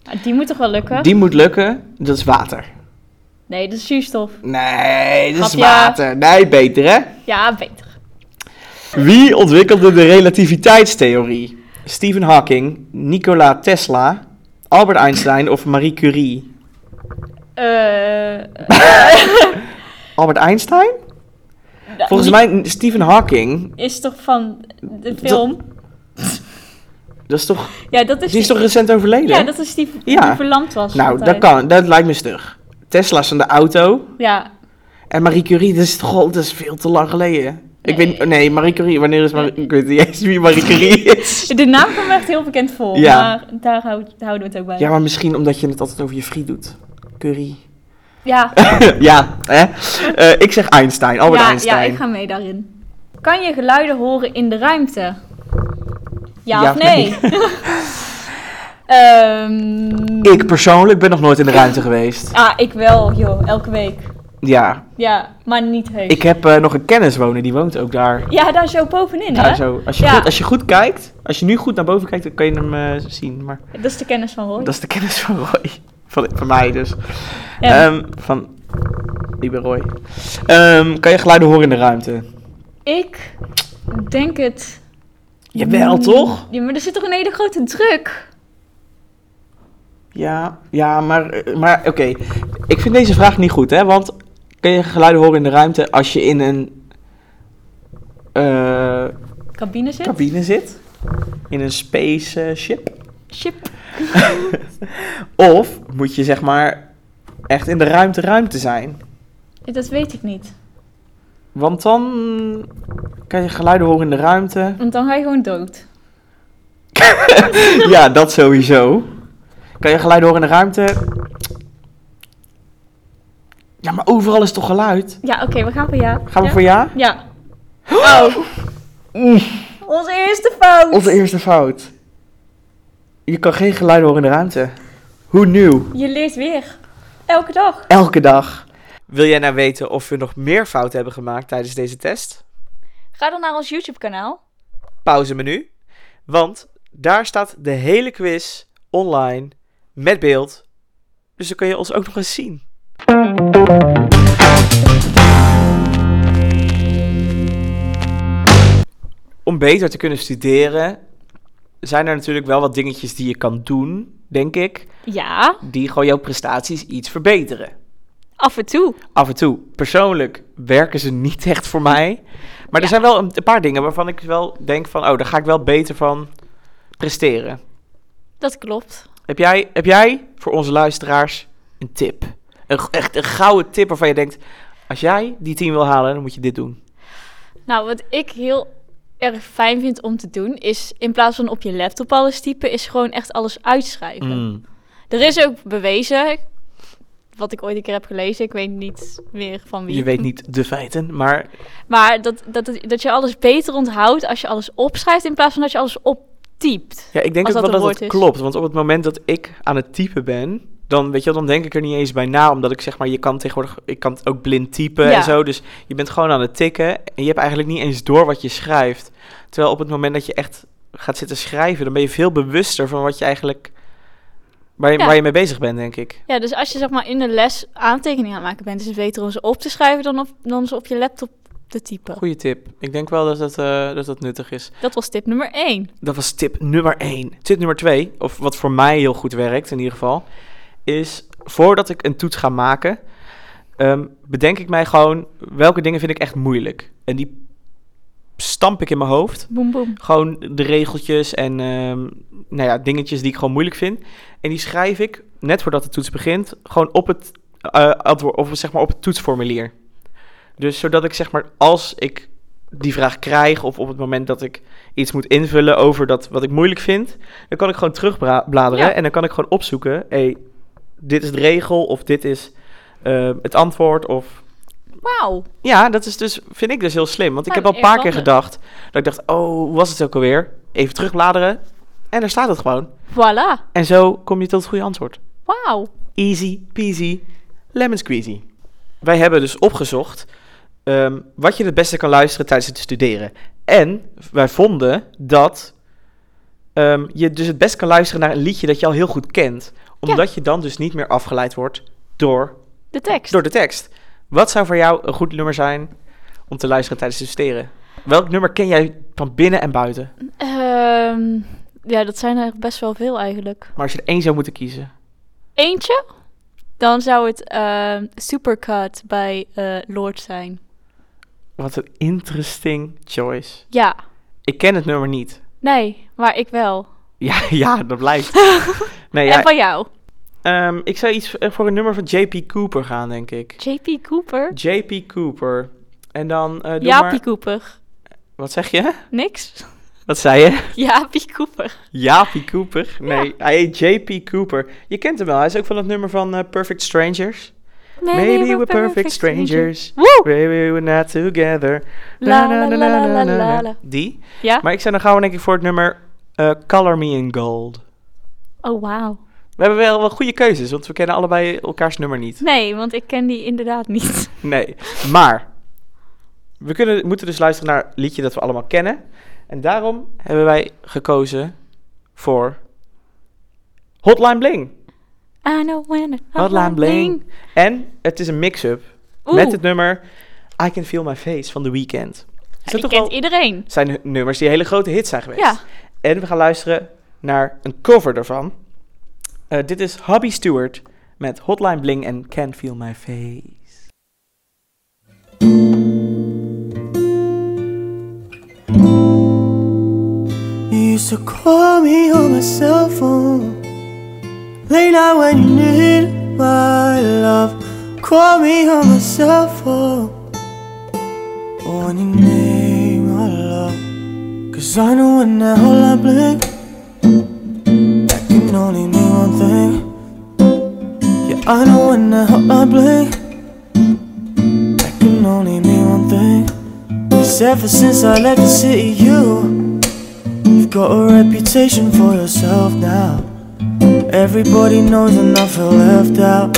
[SPEAKER 2] Nou, Die moet toch wel lukken?
[SPEAKER 1] Die moet lukken, dat is water.
[SPEAKER 2] Nee, dat is zuurstof.
[SPEAKER 1] Nee, dat is
[SPEAKER 2] Grapje.
[SPEAKER 1] water. Nee, beter hè?
[SPEAKER 2] Ja, beter.
[SPEAKER 1] Wie ontwikkelde de relativiteitstheorie? Stephen Hawking, Nikola Tesla, Albert Einstein of Marie Curie?
[SPEAKER 2] Eh,
[SPEAKER 1] Albert Einstein? Volgens
[SPEAKER 2] nou, die
[SPEAKER 1] mij Stephen Hawking.
[SPEAKER 2] Is toch van de film?
[SPEAKER 1] Dat is toch,
[SPEAKER 2] Ja, dat is
[SPEAKER 1] die is toch recent overleden?
[SPEAKER 2] Ja, dat is die die
[SPEAKER 1] Ja.
[SPEAKER 2] verlamd was.
[SPEAKER 1] nou,
[SPEAKER 2] altijd.
[SPEAKER 1] dat kan. Dat lijkt me stug. Tesla's van de auto.
[SPEAKER 2] Ja,
[SPEAKER 1] En Marie Curie, dat is toch al, dat is veel te lang geleden. Ik
[SPEAKER 2] Nee.
[SPEAKER 1] weet nee, Marie Curie, wanneer is Marie, ik weet niet eens wie Marie Curie is.
[SPEAKER 2] de naam komt me echt heel bekend voor.
[SPEAKER 1] Ja.
[SPEAKER 2] Maar daar houd- houden we het ook bij.
[SPEAKER 1] Ja, maar misschien omdat je het altijd over je friet doet. Curie.
[SPEAKER 2] ja.
[SPEAKER 1] ja, hè? Eh, ik zeg Einstein, Albert
[SPEAKER 2] ja,
[SPEAKER 1] Einstein.
[SPEAKER 2] Ja, ik ga mee daarin. Kan je geluiden horen in de ruimte? Ja,
[SPEAKER 1] Ja
[SPEAKER 2] of
[SPEAKER 1] of
[SPEAKER 2] nee? Ehm,
[SPEAKER 1] Ik persoonlijk ben nog nooit in de ruimte geweest.
[SPEAKER 2] Ah, ik wel, joh. Elke week.
[SPEAKER 1] Ja,
[SPEAKER 2] Ja, maar niet heus.
[SPEAKER 1] ik heb eh, nog een kennis wonen, die woont ook daar.
[SPEAKER 2] Ja, daar zo bovenin,
[SPEAKER 1] Ja,
[SPEAKER 2] hè?
[SPEAKER 1] zo. Als je,
[SPEAKER 2] Ja.
[SPEAKER 1] goed, als je goed kijkt, als je nu goed naar boven kijkt, dan kan je hem eh, zien. Maar
[SPEAKER 2] Dat is de kennis van Roy.
[SPEAKER 1] dat is de kennis van Roy. Van, van mij dus.
[SPEAKER 2] Ja.
[SPEAKER 1] Ehm, van, ik ben Roy. Ehm, kan je geluiden horen in de ruimte?
[SPEAKER 2] Ik denk het...
[SPEAKER 1] Jawel,
[SPEAKER 2] Mm,
[SPEAKER 1] toch?
[SPEAKER 2] Ja, maar er zit toch een hele grote druk?
[SPEAKER 1] Ja, ja maar, eh, maar oké. Ik vind deze vraag niet goed, hè? Want kan je geluiden horen in de ruimte als je in een eh,
[SPEAKER 2] Cabine zit?
[SPEAKER 1] cabine zit? In een spaceship?
[SPEAKER 2] Ship.
[SPEAKER 1] Of moet je zeg maar echt in de ruimte ruimte zijn?
[SPEAKER 2] Dat weet ik niet.
[SPEAKER 1] Want dan kan je geluiden horen in de ruimte.
[SPEAKER 2] Want dan ga je gewoon dood.
[SPEAKER 1] ja, dat sowieso. Kan je geluiden horen in de ruimte? Ja, maar overal is toch geluid?
[SPEAKER 2] Ja, oké, we gaan voor ja.
[SPEAKER 1] Gaan we
[SPEAKER 2] Ja?
[SPEAKER 1] voor ja?
[SPEAKER 2] Ja. Oh. Onze eerste fout.
[SPEAKER 1] Onze eerste fout. Je kan geen geluiden horen in de ruimte. Hoe nieuw?
[SPEAKER 2] Je leert weer. Elke dag.
[SPEAKER 1] Elke dag. Wil jij nou weten of we nog meer fouten hebben gemaakt tijdens deze test?
[SPEAKER 2] Ga dan naar ons YouTube kanaal.
[SPEAKER 1] Pauze menu. Want daar staat de hele quiz online met beeld. Dus dan kun je ons ook nog eens zien. Om beter te kunnen studeren zijn er natuurlijk wel wat dingetjes die je kan doen, denk ik,
[SPEAKER 2] Ja,
[SPEAKER 1] die gewoon jouw prestaties iets verbeteren.
[SPEAKER 2] af en toe.
[SPEAKER 1] Af en toe, persoonlijk, werken ze niet echt voor mij. Maar er
[SPEAKER 2] Ja.
[SPEAKER 1] zijn wel een, een paar dingen waarvan ik wel denk van, oh, daar ga ik wel beter van presteren.
[SPEAKER 2] Dat klopt.
[SPEAKER 1] Heb jij, heb jij voor onze luisteraars een tip? Een, g- echt een gouden tip waarvan je denkt: als jij die 10 wil halen, dan moet je dit doen.
[SPEAKER 2] Nou, wat ik heel erg fijn vind om te doen, is in plaats van op je laptop alles typen, is gewoon echt alles uitschrijven.
[SPEAKER 1] Mm.
[SPEAKER 2] Er is ook bewezen, wat ik ooit een keer heb gelezen, ik weet niet meer van wie.
[SPEAKER 1] Je weet niet de feiten, maar
[SPEAKER 2] Maar dat, dat, dat, dat je alles beter onthoudt als je alles opschrijft in plaats van dat je alles optypt.
[SPEAKER 1] ja, ik denk
[SPEAKER 2] Als
[SPEAKER 1] ook wel
[SPEAKER 2] dat een
[SPEAKER 1] dat
[SPEAKER 2] woord
[SPEAKER 1] het
[SPEAKER 2] is.
[SPEAKER 1] klopt. Want op het moment dat ik aan het typen ben, dan, weet je, wel, dan denk ik er niet eens bij na. Omdat ik zeg maar, je kan tegenwoordig ik kan het ook blind typen
[SPEAKER 2] Ja.
[SPEAKER 1] en zo. Dus je bent gewoon aan het tikken en je hebt eigenlijk niet eens door wat je schrijft. Terwijl op het moment dat je echt gaat zitten schrijven, dan ben je veel bewuster van wat je eigenlijk. Waar je,
[SPEAKER 2] Ja.
[SPEAKER 1] waar je mee bezig bent, denk ik.
[SPEAKER 2] Ja, dus als je zeg maar in de les aantekeningen aan het maken bent, is het beter om ze op te schrijven dan, op, dan ze op je laptop te typen.
[SPEAKER 1] Goeie tip. Ik denk wel dat dat, eh, dat dat nuttig is.
[SPEAKER 2] Dat was tip nummer 1.
[SPEAKER 1] Dat was tip nummer 1. Tip nummer 2, of wat voor mij heel goed werkt in ieder geval, is voordat ik een toets ga maken, eh, ehm, bedenk ik mij gewoon welke dingen vind ik echt moeilijk. En die stamp ik in mijn hoofd.
[SPEAKER 2] Boem, boem.
[SPEAKER 1] Gewoon de regeltjes en ehm, nou ja, dingetjes die ik gewoon moeilijk vind. En die schrijf ik, net voordat de toets begint, gewoon op het, eh, antwoord, of zeg maar op het toetsformulier. Dus zodat ik zeg maar, als ik die vraag krijg, of op het moment dat ik iets moet invullen over dat wat ik moeilijk vind, dan kan ik gewoon terugbladeren
[SPEAKER 2] Ja.
[SPEAKER 1] en dan kan ik gewoon opzoeken, hey, dit is de regel, of dit is eh, het antwoord, of
[SPEAKER 2] Wauw.
[SPEAKER 1] ja, dat is dus, vind ik dus heel slim. Want ik
[SPEAKER 2] Ja,
[SPEAKER 1] heb al een paar keer
[SPEAKER 2] eerlijk.
[SPEAKER 1] gedacht dat ik dacht, oh, hoe was het ook alweer? Even terugbladeren. En daar staat het gewoon.
[SPEAKER 2] Voilà.
[SPEAKER 1] En zo kom je tot het goede antwoord.
[SPEAKER 2] Wauw.
[SPEAKER 1] Easy peasy, lemon squeezy. Wij hebben dus opgezocht ehm, wat je het beste kan luisteren tijdens het studeren. En wij vonden dat ehm, je dus het best kan luisteren naar een liedje dat je al heel goed kent. Omdat je dan dus niet meer afgeleid wordt door
[SPEAKER 2] De tekst.
[SPEAKER 1] door de tekst. Wat zou voor jou een goed nummer zijn om te luisteren tijdens het studeren? Welk nummer ken jij van binnen en buiten?
[SPEAKER 2] Ehm, ja, dat zijn er best wel veel eigenlijk.
[SPEAKER 1] Maar als je er één zou moeten kiezen.
[SPEAKER 2] Eentje? Dan zou het ehm, Supercut bij eh, Lord zijn.
[SPEAKER 1] Wat een interesting choice.
[SPEAKER 2] Ja.
[SPEAKER 1] Ik ken het nummer niet.
[SPEAKER 2] Nee, maar ik wel.
[SPEAKER 1] Ja, ja dat blijkt. Nee,
[SPEAKER 2] En
[SPEAKER 1] ja,
[SPEAKER 2] van jou?
[SPEAKER 1] ehm, ik zou iets eh, voor een nummer van JP Cooper gaan, denk ik.
[SPEAKER 2] JP Cooper?
[SPEAKER 1] JP Cooper. En dan eh doe
[SPEAKER 2] Jaapie
[SPEAKER 1] maar...
[SPEAKER 2] Cooper.
[SPEAKER 1] Wat zeg je?
[SPEAKER 2] Niks?
[SPEAKER 1] Wat zei je?
[SPEAKER 2] Jaapie Cooper.
[SPEAKER 1] Jaapie Cooper? Nee, hij heet JP Cooper. Je kent hem wel. Hij is ook van dat nummer van eh, Perfect Strangers. Maybe we're perfect strangers.
[SPEAKER 2] Woe!
[SPEAKER 1] Maybe we're not together.
[SPEAKER 2] La, la, la, la, la, la, la.
[SPEAKER 1] Die.
[SPEAKER 2] Ja?
[SPEAKER 1] Maar ik zou dan gaan we denk ik voor het nummer eh, Color Me in Gold.
[SPEAKER 2] Oh, wauw.
[SPEAKER 1] We hebben wel, wel goede keuzes, want we kennen allebei elkaars nummer niet.
[SPEAKER 2] Nee, want ik ken die inderdaad niet.
[SPEAKER 1] Nee. Maar we kunnen, moeten dus luisteren naar het liedje dat we allemaal kennen. En daarom hebben wij gekozen voor Hotline Bling.
[SPEAKER 2] I know when it-
[SPEAKER 1] Hotline Bling. En het is een mix-up
[SPEAKER 2] Oeh.
[SPEAKER 1] met het nummer I Can Feel My Face van The Weeknd. Is dat
[SPEAKER 2] Ja, die
[SPEAKER 1] toch
[SPEAKER 2] kent
[SPEAKER 1] wel
[SPEAKER 2] iedereen.
[SPEAKER 1] zijn nummers die hele grote hits zijn geweest.
[SPEAKER 2] Ja.
[SPEAKER 1] En we gaan luisteren naar een cover daarvan. Eh, dit is Hobby Stewart met Hotline Bling en Can't Feel My Face.
[SPEAKER 3] You used to call me on my cell phone Late night when you need my love Call me on my cell phone When you need my love Cause I know when that hotline bling That can only mean one thing Yeah, I know when that hotline bling That can only mean one thing Cause ever since I left the city, you You've got a reputation for yourself now. Everybody knows and I feel left out.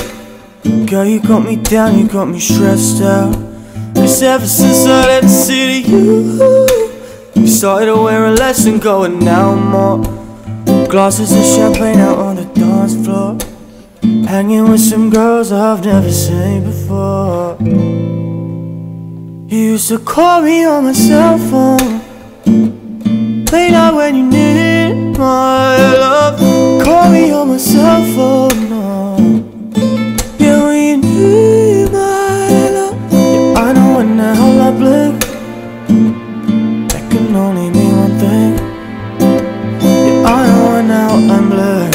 [SPEAKER 3] Girl, you got me down, you got me stressed out. Cause ever since I left the city, you you started to wear less and going now more. Glasses of champagne out on the dance floor. Hanging with some girls I've never seen before. You used to call me on my cell phone. Late night when you needed my love Call me on my cell phone, no Yeah, when you need my love Yeah, I know when that whole lot blink That can only mean one thing Yeah, I know when that whole lot blink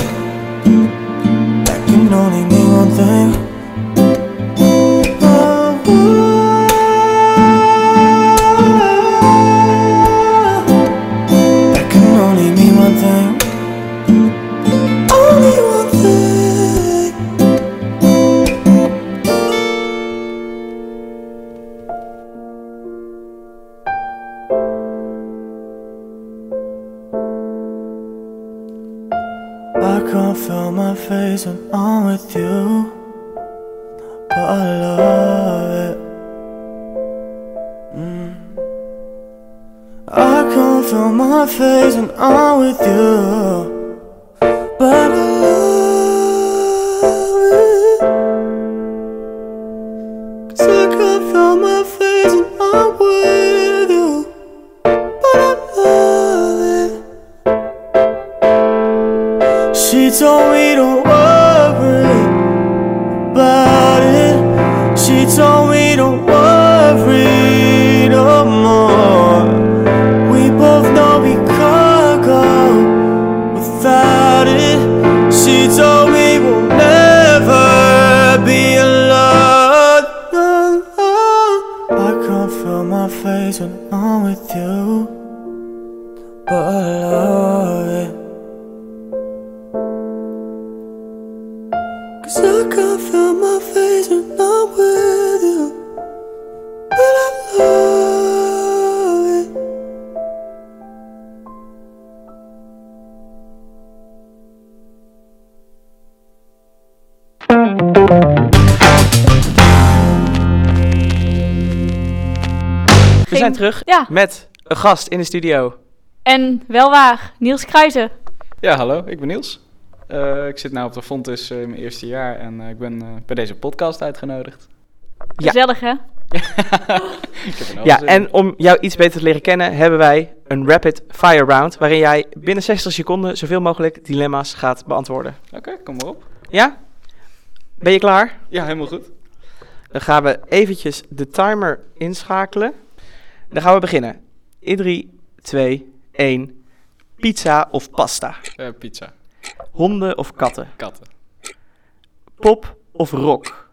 [SPEAKER 3] That can only mean one thing Oh, oh, oh. That can only mean one thing. Only one thing. I can't feel my face when I'm with you. But I love it. I can't feel my face when I'm with you. But I love it. 'Cause I can't feel my face when I'm with you. But I love it. She told me don't worry about it. She told me to worry no more. We both know we can't go without it. She told me we'll never be alone. I can't feel my face when I'm with you, but I love it. Cause I can't feel my face when I'm with you. But I love it.
[SPEAKER 1] We zijn terug
[SPEAKER 2] Ja,
[SPEAKER 1] met een gast in de studio.
[SPEAKER 2] en wel waar, Niels Kruijzen.
[SPEAKER 4] Ja, hallo, ik ben Niels. Eh, ik zit nu op de Fontes eh, in mijn eerste jaar en eh, ik ben eh, bij deze podcast uitgenodigd.
[SPEAKER 1] Ja.
[SPEAKER 2] Gezellig, hè?
[SPEAKER 4] ik heb er nou
[SPEAKER 1] Ja,
[SPEAKER 4] zin in.
[SPEAKER 1] en om jou iets beter te leren kennen, hebben wij een rapid fire round. Waarin jij binnen 60 seconden zoveel mogelijk dilemma's gaat beantwoorden.
[SPEAKER 4] Oké, kom maar op.
[SPEAKER 1] Ja? Ben je klaar?
[SPEAKER 4] Ja, helemaal goed.
[SPEAKER 1] Dan gaan we eventjes de timer inschakelen. Dan gaan we beginnen. In 3, 2, 1. Pizza of pasta?
[SPEAKER 4] Eh, pizza,
[SPEAKER 1] Honden of katten?
[SPEAKER 4] katten,
[SPEAKER 1] Pop of rock?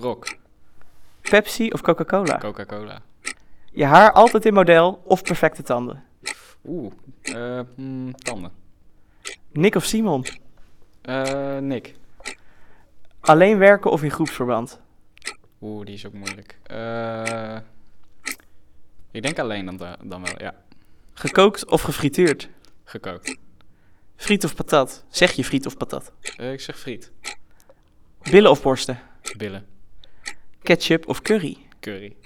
[SPEAKER 4] rock,
[SPEAKER 1] Pepsi of
[SPEAKER 4] Ah.
[SPEAKER 1] Coca-Cola?
[SPEAKER 4] Coca-Cola.
[SPEAKER 1] Je haar altijd in model of perfecte tanden?
[SPEAKER 4] Oeh, eh, mm, tanden.
[SPEAKER 1] Nick of Simon?
[SPEAKER 4] Eh, Nick.
[SPEAKER 1] Alleen werken of in groepsverband?
[SPEAKER 4] Oeh, die is ook moeilijk. Eh, ik denk alleen dan, da- dan wel, ja.
[SPEAKER 1] Gekookt of gefrituurd?
[SPEAKER 4] Gekookt.
[SPEAKER 1] Friet of patat? Zeg je friet of patat?
[SPEAKER 4] Eh, ik zeg friet,
[SPEAKER 1] Billen of borsten?
[SPEAKER 4] billen,
[SPEAKER 1] Ketchup of curry?
[SPEAKER 4] curry.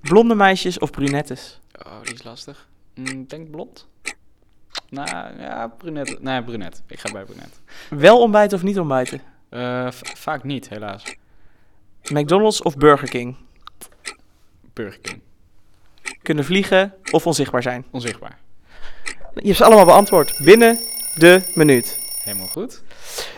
[SPEAKER 1] Blonde meisjes of brunettes?
[SPEAKER 4] Oh, die is lastig. Mm, ik denk blond. Nou, ja, brunet. Nee, brunet. Ik ga bij brunet.
[SPEAKER 1] Wel ontbijten of niet ontbijten?
[SPEAKER 4] Eh, va- vaak niet, helaas.
[SPEAKER 1] McDonald's of Burger King?
[SPEAKER 4] Burger King.
[SPEAKER 1] Kunnen vliegen of onzichtbaar zijn?
[SPEAKER 4] Onzichtbaar.
[SPEAKER 1] Je hebt ze allemaal beantwoord binnen de minuut.
[SPEAKER 4] Helemaal goed.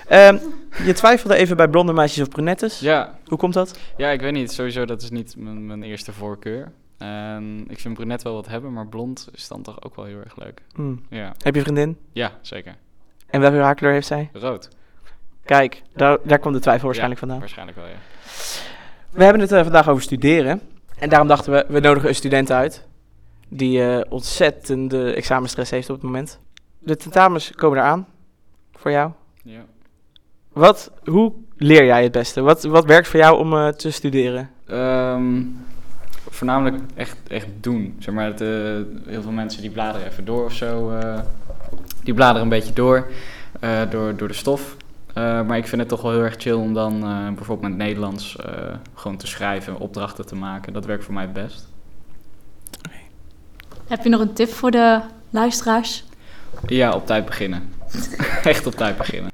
[SPEAKER 1] Ehm, je twijfelde even bij blonde meisjes of brunettes.
[SPEAKER 4] Ja,
[SPEAKER 1] Hoe komt dat?
[SPEAKER 4] ja ik weet niet. Sowieso, dat is niet mijn, mijn eerste voorkeur. En ik vind brunet wel wat hebben, maar blond is dan toch ook wel heel erg leuk.
[SPEAKER 1] Hm.
[SPEAKER 4] Ja,
[SPEAKER 1] Heb je een vriendin?
[SPEAKER 4] ja zeker.
[SPEAKER 1] En welke haarkleur heeft zij?
[SPEAKER 4] Rood.
[SPEAKER 1] Kijk, daar, daar kwam de twijfel waarschijnlijk
[SPEAKER 4] Ja,
[SPEAKER 1] vandaan.
[SPEAKER 4] Waarschijnlijk wel, ja.
[SPEAKER 1] We hebben het eh, vandaag over studeren. En daarom dachten we, we nodigen een student uit. Die eh, ontzettende examenstress heeft op het moment. De tentamens komen eraan. Voor jou.
[SPEAKER 4] ja.
[SPEAKER 1] Wat, hoe leer jij het beste? Wat, wat werkt voor jou om eh, te studeren?
[SPEAKER 4] Ehm, voornamelijk echt, echt doen. Zeg maar, het, eh, heel veel mensen die bladeren even door of zo. eh, die bladeren een beetje door, eh, door, door de stof. Eh, maar ik vind het toch wel heel erg chill om dan eh, bijvoorbeeld met Nederlands eh, gewoon te schrijven, opdrachten te maken. Dat werkt voor mij het best.
[SPEAKER 2] Heb je nog een tip voor de luisteraars?
[SPEAKER 4] Ja, op tijd beginnen. echt op tijd beginnen.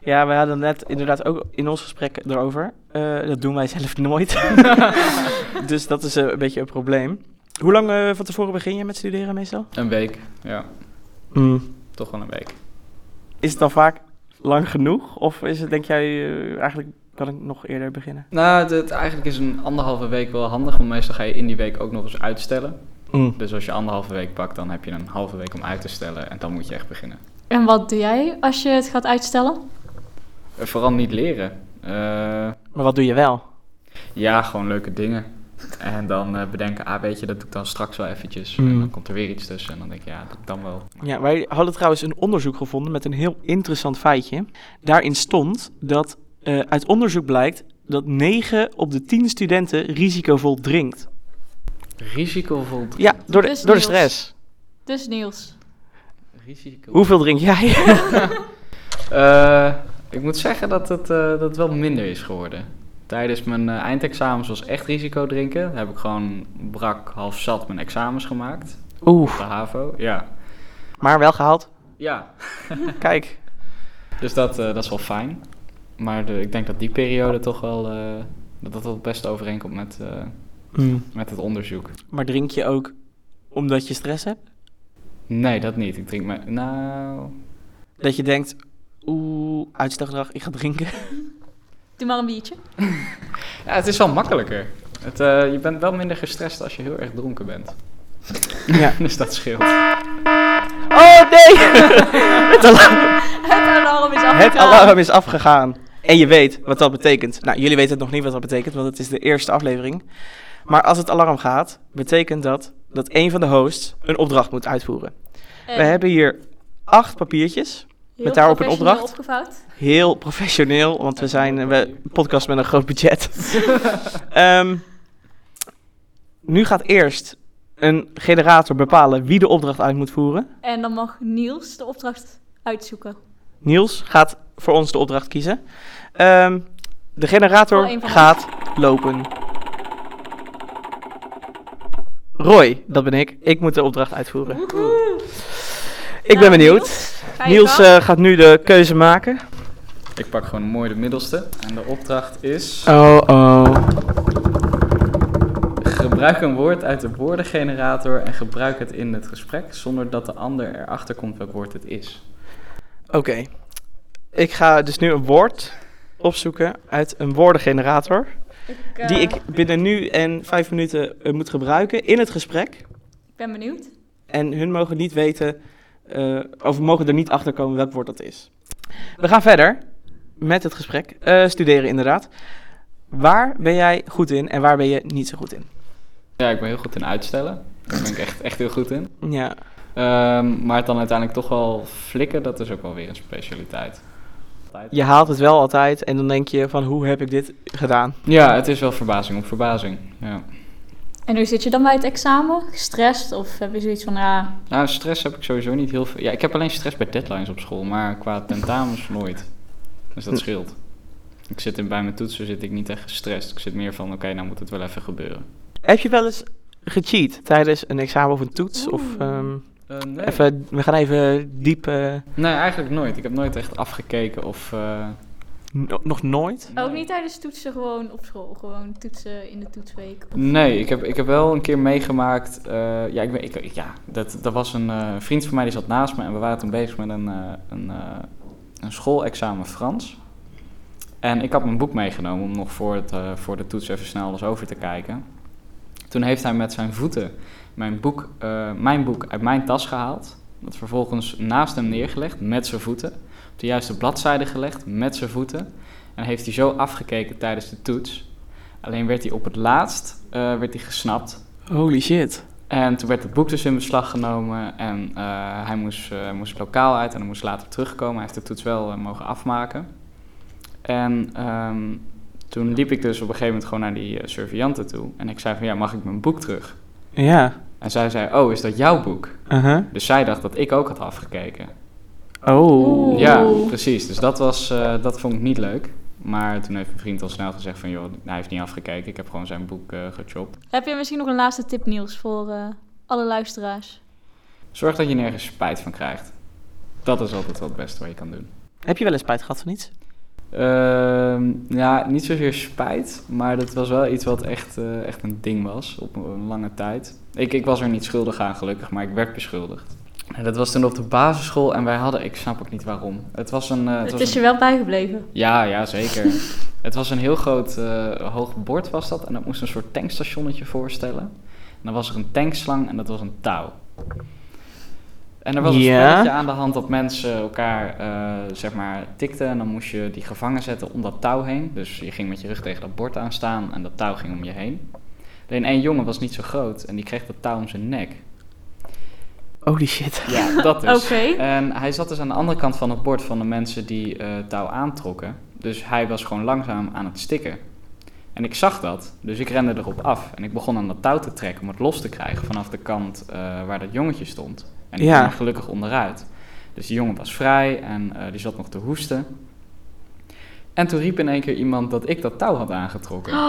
[SPEAKER 1] Ja, we hadden net inderdaad ook in ons gesprek erover. Eh, dat doen wij zelf nooit. dus dat is eh, een beetje een probleem. Hoe lang eh, van tevoren begin je met studeren meestal?
[SPEAKER 4] Een week, ja,
[SPEAKER 1] Mm.
[SPEAKER 4] toch wel een week.
[SPEAKER 1] Is het dan vaak lang genoeg? Of is het, denk jij, eh, eigenlijk kan ik nog eerder beginnen?
[SPEAKER 4] Nou, het, eigenlijk is een anderhalve week wel handig, want meestal ga je in die week ook nog eens uitstellen.
[SPEAKER 1] Mm.
[SPEAKER 4] Dus als je anderhalve week pakt, dan heb je een halve week om uit te stellen en dan moet je echt beginnen.
[SPEAKER 2] En wat doe jij als je het gaat uitstellen?
[SPEAKER 4] Eh, Vooral niet leren. Eh,
[SPEAKER 1] Maar wat doe je wel?
[SPEAKER 4] ja, gewoon leuke dingen. En dan eh, bedenken, ah weet je, dat doe ik dan straks wel eventjes.
[SPEAKER 1] Mm.
[SPEAKER 4] En dan komt er weer iets tussen en dan denk je, ja, dat doe ik dan wel.
[SPEAKER 1] Ja, wij hadden trouwens een onderzoek gevonden met een heel interessant feitje. Daarin stond dat eh, uit onderzoek blijkt dat 9 op de 10 studenten risicovol drinkt.
[SPEAKER 4] Risicovol. dr-
[SPEAKER 1] Ja, door de,
[SPEAKER 2] Dus
[SPEAKER 1] door de
[SPEAKER 2] Niels.
[SPEAKER 1] stress.
[SPEAKER 2] Dus Niels.
[SPEAKER 4] Risico.
[SPEAKER 1] Hoeveel drink jij?
[SPEAKER 4] Eh, ik moet zeggen dat het, eh, dat het wel minder is geworden. Tijdens mijn eh, eindexamens was echt risico drinken. Daar heb ik gewoon brak, half zat mijn examens gemaakt.
[SPEAKER 1] Oeh,
[SPEAKER 4] Op de HAVO, ja.
[SPEAKER 1] maar wel gehaald.
[SPEAKER 4] Ja,
[SPEAKER 1] Kijk,
[SPEAKER 4] Dus dat, eh, dat is wel fijn. Maar de, ik denk dat die periode toch wel, eh, dat dat wel best overeenkomt met, eh,
[SPEAKER 1] Mm.
[SPEAKER 4] met het onderzoek.
[SPEAKER 1] maar drink je ook omdat je stress hebt?
[SPEAKER 4] Nee, dat niet. Ik drink maar. Nou.
[SPEAKER 1] Dat je denkt, oeh, uitstelgedrag, ik ga drinken.
[SPEAKER 2] Doe maar een biertje.
[SPEAKER 4] Ja, het is wel makkelijker. Het, eh, je bent wel minder gestrest als je heel erg dronken bent.
[SPEAKER 1] Ja.
[SPEAKER 4] dus dat scheelt.
[SPEAKER 1] Oh nee! het, alarm,
[SPEAKER 2] Het alarm is afgegaan.
[SPEAKER 1] het alarm is afgegaan. En je weet wat dat betekent. Nou, jullie weten nog niet wat dat betekent, want het is de eerste aflevering. Maar als het alarm gaat, betekent dat dat een van de hosts een opdracht moet uitvoeren.
[SPEAKER 2] En
[SPEAKER 1] We hebben hier acht papiertjes.
[SPEAKER 2] Eh, heel
[SPEAKER 1] met daarop een
[SPEAKER 2] professioneel
[SPEAKER 1] opdracht.
[SPEAKER 2] opgevouwd.
[SPEAKER 1] Heel professioneel, want we zijn eh, we, een podcast met een groot budget. Ehm, nu gaat eerst een generator bepalen wie de opdracht uit moet voeren.
[SPEAKER 2] En dan mag Niels de opdracht uitzoeken.
[SPEAKER 1] Niels gaat voor ons de opdracht kiezen. Ehm, de generator
[SPEAKER 2] Wel een van
[SPEAKER 1] gaat lopen. Roy, dat ben ik. Ik moet de opdracht uitvoeren. Ik ben
[SPEAKER 2] Nou,
[SPEAKER 1] benieuwd.
[SPEAKER 2] Niels, ga je
[SPEAKER 1] Niels
[SPEAKER 2] gang.
[SPEAKER 1] eh, gaat nu de keuze maken.
[SPEAKER 4] Ik pak gewoon mooi de middelste. En de opdracht is...
[SPEAKER 1] Oh oh.
[SPEAKER 4] Gebruik een woord uit de woordengenerator en gebruik het in het gesprek... zonder dat de ander erachter komt welk woord het is.
[SPEAKER 1] Oké. Ik ga dus nu een woord opzoeken uit een woordengenerator.
[SPEAKER 2] Ik, eh,
[SPEAKER 1] Die ik binnen nu en vijf minuten eh, moet gebruiken in het gesprek.
[SPEAKER 2] ik ben benieuwd.
[SPEAKER 1] En hun mogen niet weten, eh, of mogen er niet achter komen welk woord dat is. We gaan verder met het gesprek. Eh, studeren inderdaad. Waar ben jij goed in en waar ben je niet zo goed in?
[SPEAKER 4] Ja, ik ben heel goed in uitstellen. Daar ben ik echt, echt heel goed in.
[SPEAKER 1] Ja,
[SPEAKER 4] Ehm, maar het dan uiteindelijk toch wel flikken, dat is ook wel weer een specialiteit.
[SPEAKER 1] je haalt het wel altijd en dan denk je van hoe heb ik dit gedaan?
[SPEAKER 4] Ja, het is wel verbazing op verbazing. Ja.
[SPEAKER 2] En hoe zit je dan bij het examen? Gestrest of heb je zoiets van, ja,
[SPEAKER 4] Nou, stress heb ik sowieso niet heel veel. Ja, ik heb alleen stress bij deadlines op school, maar qua tentamens nooit. Dus dat scheelt. Ik zit in, bij mijn toetsen zit ik niet echt gestrest. Ik zit meer van, oké, nou moet het wel even gebeuren.
[SPEAKER 1] Heb je wel eens gecheat tijdens een examen of een toets? Of, ehm,
[SPEAKER 4] nee.
[SPEAKER 1] even, we gaan even diep. eh,
[SPEAKER 4] nee, eigenlijk nooit. Ik heb nooit echt afgekeken of... eh,
[SPEAKER 1] no- nog nooit?
[SPEAKER 2] ook niet tijdens toetsen gewoon op school, gewoon toetsen in de toetsweek.
[SPEAKER 4] Nee, ik heb, ik heb wel een keer meegemaakt. eh, ja, ik, ben- ik, ik- ja dat, dat was een eh, vriend van mij die zat naast me en we waren toen bezig met een, eh, een, eh, een schoolexamen Frans. En ik had mijn boek meegenomen om nog voor, het, eh, voor de toets even snel alles over te kijken. Toen heeft hij met zijn voeten mijn boek, eh, mijn boek uit mijn tas gehaald. Dat vervolgens naast hem neergelegd met zijn voeten. Op de juiste bladzijde gelegd met zijn voeten. En heeft hij zo afgekeken tijdens de toets. Alleen werd hij op het laatst eh, werd hij gesnapt.
[SPEAKER 1] Holy shit.
[SPEAKER 4] En toen werd het boek dus in beslag genomen. En eh, hij moest, eh, moest het lokaal uit en hij moest later terugkomen. Hij heeft de toets wel eh, mogen afmaken. En ehm, toen liep ik dus op een gegeven moment gewoon naar die eh surveillante toe. En ik zei van, ja, mag ik mijn boek terug?
[SPEAKER 1] Ja.
[SPEAKER 4] En zij zei, oh, is dat jouw boek?
[SPEAKER 1] Uh-huh.
[SPEAKER 4] Dus zij dacht dat ik ook had afgekeken.
[SPEAKER 1] Oh.
[SPEAKER 2] Oeh.
[SPEAKER 4] Ja, precies. Dus dat, was, eh, dat vond ik niet leuk. Maar toen heeft mijn vriend al snel gezegd van, joh, hij heeft niet afgekeken. Ik heb gewoon zijn boek eh gechopt.
[SPEAKER 2] Heb je misschien nog een laatste tip, Niels, voor eh, alle luisteraars?
[SPEAKER 4] Zorg dat je nergens spijt van krijgt. Dat is altijd wel het beste wat je kan doen.
[SPEAKER 1] Heb je wel eens spijt gehad van iets?
[SPEAKER 4] Ehm, ja, niet zozeer spijt, maar dat was wel iets wat echt, eh, echt een ding was op een lange tijd. Ik, ik was er niet schuldig aan gelukkig, maar ik werd beschuldigd. En dat was toen op de basisschool en wij hadden, ik snap ook niet waarom. Het was een... eh, het
[SPEAKER 2] het
[SPEAKER 4] was
[SPEAKER 2] is
[SPEAKER 4] een-
[SPEAKER 2] je wel bijgebleven.
[SPEAKER 4] Ja, ja, zeker. het was een heel groot eh, hoog bord was dat. En dat moest een soort tankstationnetje voorstellen. En dan was er een tankslang en dat was een touw. En er was een
[SPEAKER 1] Ja.
[SPEAKER 4] spelletje aan de hand dat mensen elkaar, eh, zeg maar, tikten. En dan moest je die gevangen zetten om dat touw heen. Dus je ging met je rug tegen dat bord aan staan en dat touw ging om je heen. Alleen één jongen was niet zo groot en die kreeg dat touw om zijn nek.
[SPEAKER 1] Holy shit.
[SPEAKER 4] Ja, dat dus. is.
[SPEAKER 2] Oké.
[SPEAKER 4] En hij zat dus aan de andere kant van het bord van de mensen die eh, touw aantrokken. Dus hij was gewoon langzaam aan het stikken. En ik zag dat, dus ik rende erop af. En ik begon aan dat touw te trekken om het los te krijgen vanaf de kant eh, waar dat jongetje stond. En ik
[SPEAKER 1] Ja.
[SPEAKER 4] kwam er gelukkig onderuit. Dus die jongen was vrij en eh, die zat nog te hoesten. En toen riep in één keer iemand dat ik dat touw had aangetrokken.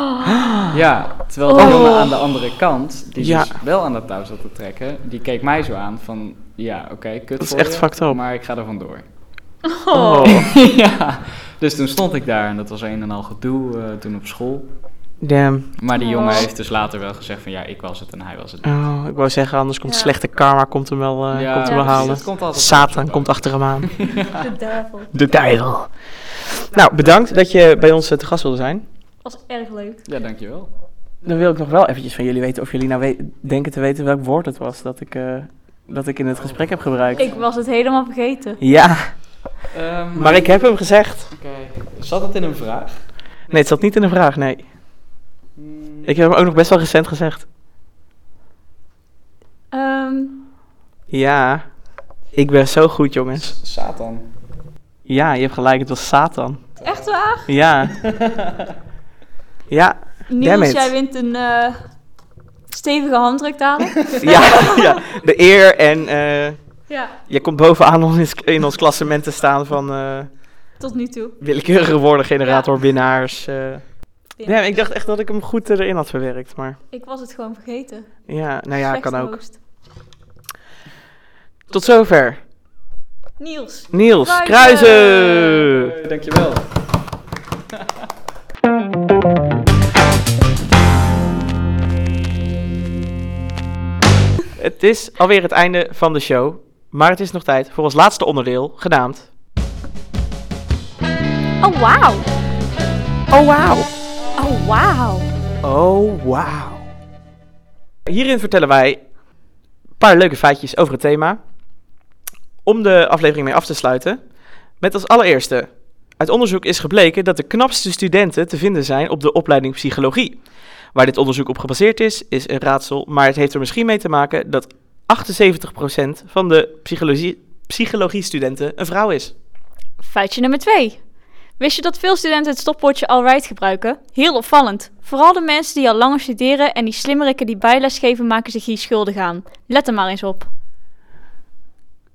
[SPEAKER 4] Ja, terwijl de
[SPEAKER 2] Oh.
[SPEAKER 4] jongen aan de andere kant, die
[SPEAKER 1] Ja.
[SPEAKER 4] dus wel aan dat touw zat te trekken, die keek mij zo aan van, ja, oké, kut
[SPEAKER 1] Dat is
[SPEAKER 4] voor
[SPEAKER 1] echt
[SPEAKER 4] je,
[SPEAKER 1] fucked up.
[SPEAKER 4] maar ik ga er vandoor.
[SPEAKER 2] Oh.
[SPEAKER 4] ja, dus toen stond ik daar en dat was een en al gedoe eh, toen op school.
[SPEAKER 1] Damn.
[SPEAKER 4] Maar die
[SPEAKER 2] Oh.
[SPEAKER 4] jongen heeft dus later wel gezegd van, ja, ik was het en hij was het niet.
[SPEAKER 1] Oh, ik wou zeggen, anders komt
[SPEAKER 2] Ja.
[SPEAKER 1] slechte karma komt hem wel, eh,
[SPEAKER 4] Ja,
[SPEAKER 1] komt hem wel
[SPEAKER 2] ja,
[SPEAKER 4] precies,
[SPEAKER 1] halen.
[SPEAKER 4] dat komt altijd
[SPEAKER 1] Satan
[SPEAKER 4] wel.
[SPEAKER 1] komt achter hem aan.
[SPEAKER 2] De duivel.
[SPEAKER 1] De duivel. Nou, bedankt dat je bij ons eh, te gast wilde zijn.
[SPEAKER 2] was erg leuk.
[SPEAKER 4] Ja, dankjewel.
[SPEAKER 1] Dan wil ik nog wel eventjes van jullie weten of jullie nou we- denken te weten welk woord het was dat ik, eh, dat ik in het gesprek heb gebruikt.
[SPEAKER 2] Ik was het helemaal vergeten.
[SPEAKER 1] Ja,
[SPEAKER 4] Ehm,
[SPEAKER 1] maar ik heb hem gezegd.
[SPEAKER 4] Oké. Zat dat in een vraag?
[SPEAKER 1] Nee, het zat niet in de vraag, nee. Ik heb hem ook nog best wel recent gezegd.
[SPEAKER 2] Ehm,
[SPEAKER 1] Ja, ik ben zo goed, jongens.
[SPEAKER 4] S- Satan.
[SPEAKER 1] Ja, je hebt gelijk, het was Satan.
[SPEAKER 2] echt waar?
[SPEAKER 1] Ja. Ja,
[SPEAKER 2] Niels,
[SPEAKER 1] it.
[SPEAKER 2] jij wint een eh, stevige handdruk dadelijk.
[SPEAKER 1] ja, ja. De eer en eh,
[SPEAKER 2] ja,
[SPEAKER 1] je komt bovenaan om in s- in ons klassement te staan van eh,
[SPEAKER 2] tot nu toe.
[SPEAKER 1] willekeurige woorden, generator, winnaars. eh.
[SPEAKER 2] Ja.
[SPEAKER 1] Nee, maar ik dacht echt dat ik hem goed eh, erin had verwerkt, maar
[SPEAKER 2] Ik was het gewoon vergeten.
[SPEAKER 1] ja, nou ja,
[SPEAKER 2] Slechte
[SPEAKER 1] kan ook.
[SPEAKER 2] host.
[SPEAKER 1] Tot zover.
[SPEAKER 2] Niels.
[SPEAKER 1] Niels
[SPEAKER 2] Kruijzen.
[SPEAKER 1] Kruijzen!
[SPEAKER 4] Eh, dankjewel.
[SPEAKER 1] Het is alweer het einde van de show, maar het is nog tijd voor ons laatste onderdeel, genaamd...
[SPEAKER 2] Oh, wauw.
[SPEAKER 1] Oh, wauw!
[SPEAKER 2] Oh, wauw.
[SPEAKER 1] Oh, wauw. Hierin vertellen wij een paar leuke feitjes over het thema. Om de aflevering mee af te sluiten. Met als allereerste. Uit onderzoek is gebleken dat de knapste studenten te vinden zijn op de opleiding psychologie. Waar dit onderzoek op gebaseerd is, is een raadsel. Maar het heeft er misschien mee te maken dat 78% van de psychologie, psychologiestudenten een vrouw is.
[SPEAKER 2] Feitje nummer 2. Wist je dat veel studenten het stopwoordje alright gebruiken? Heel opvallend. Vooral de mensen die al langer studeren en die slimmerikken die bijles geven maken zich hier schuldig aan. Let er maar eens op.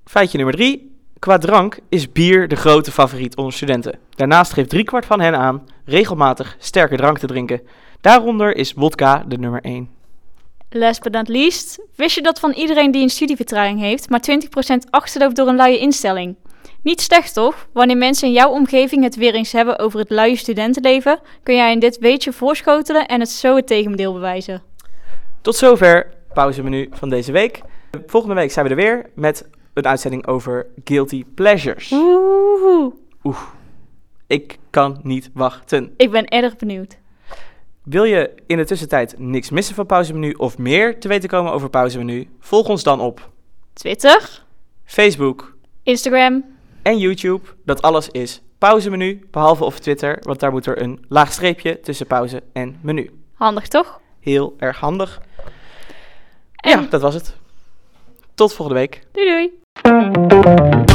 [SPEAKER 1] Feitje nummer 3. Qua drank is bier de grote favoriet onder studenten. Daarnaast geeft driekwart van hen aan regelmatig sterke drank te drinken. Daaronder is wodka de nummer 1.
[SPEAKER 2] Last but not least, wist je dat van iedereen die een studievertraging heeft, maar 20% achterloopt door een luie instelling? Niet slecht toch? Wanneer mensen in jouw omgeving het weer eens hebben over het luie studentenleven, kun jij in dit weetje voorschotelen en het zo het tegendeel bewijzen.
[SPEAKER 1] Tot zover pauzemenu van deze week. Volgende week zijn we er weer met een uitzending over guilty pleasures.
[SPEAKER 2] Oeh,
[SPEAKER 1] Ik kan niet wachten.
[SPEAKER 2] ik ben erg benieuwd.
[SPEAKER 1] Wil je in de tussentijd niks missen van pauzemenu of meer te weten komen over pauzemenu? Volg ons dan op
[SPEAKER 2] Twitter,
[SPEAKER 1] Facebook
[SPEAKER 2] Instagram,
[SPEAKER 1] en YouTube. Dat alles is pauzemenu, behalve op Twitter, want daar moet er een laag streepje tussen pauze en menu.
[SPEAKER 2] handig toch?
[SPEAKER 1] Heel erg handig.
[SPEAKER 2] En-
[SPEAKER 1] Ja, dat was het. Tot volgende week.
[SPEAKER 2] Doei doei.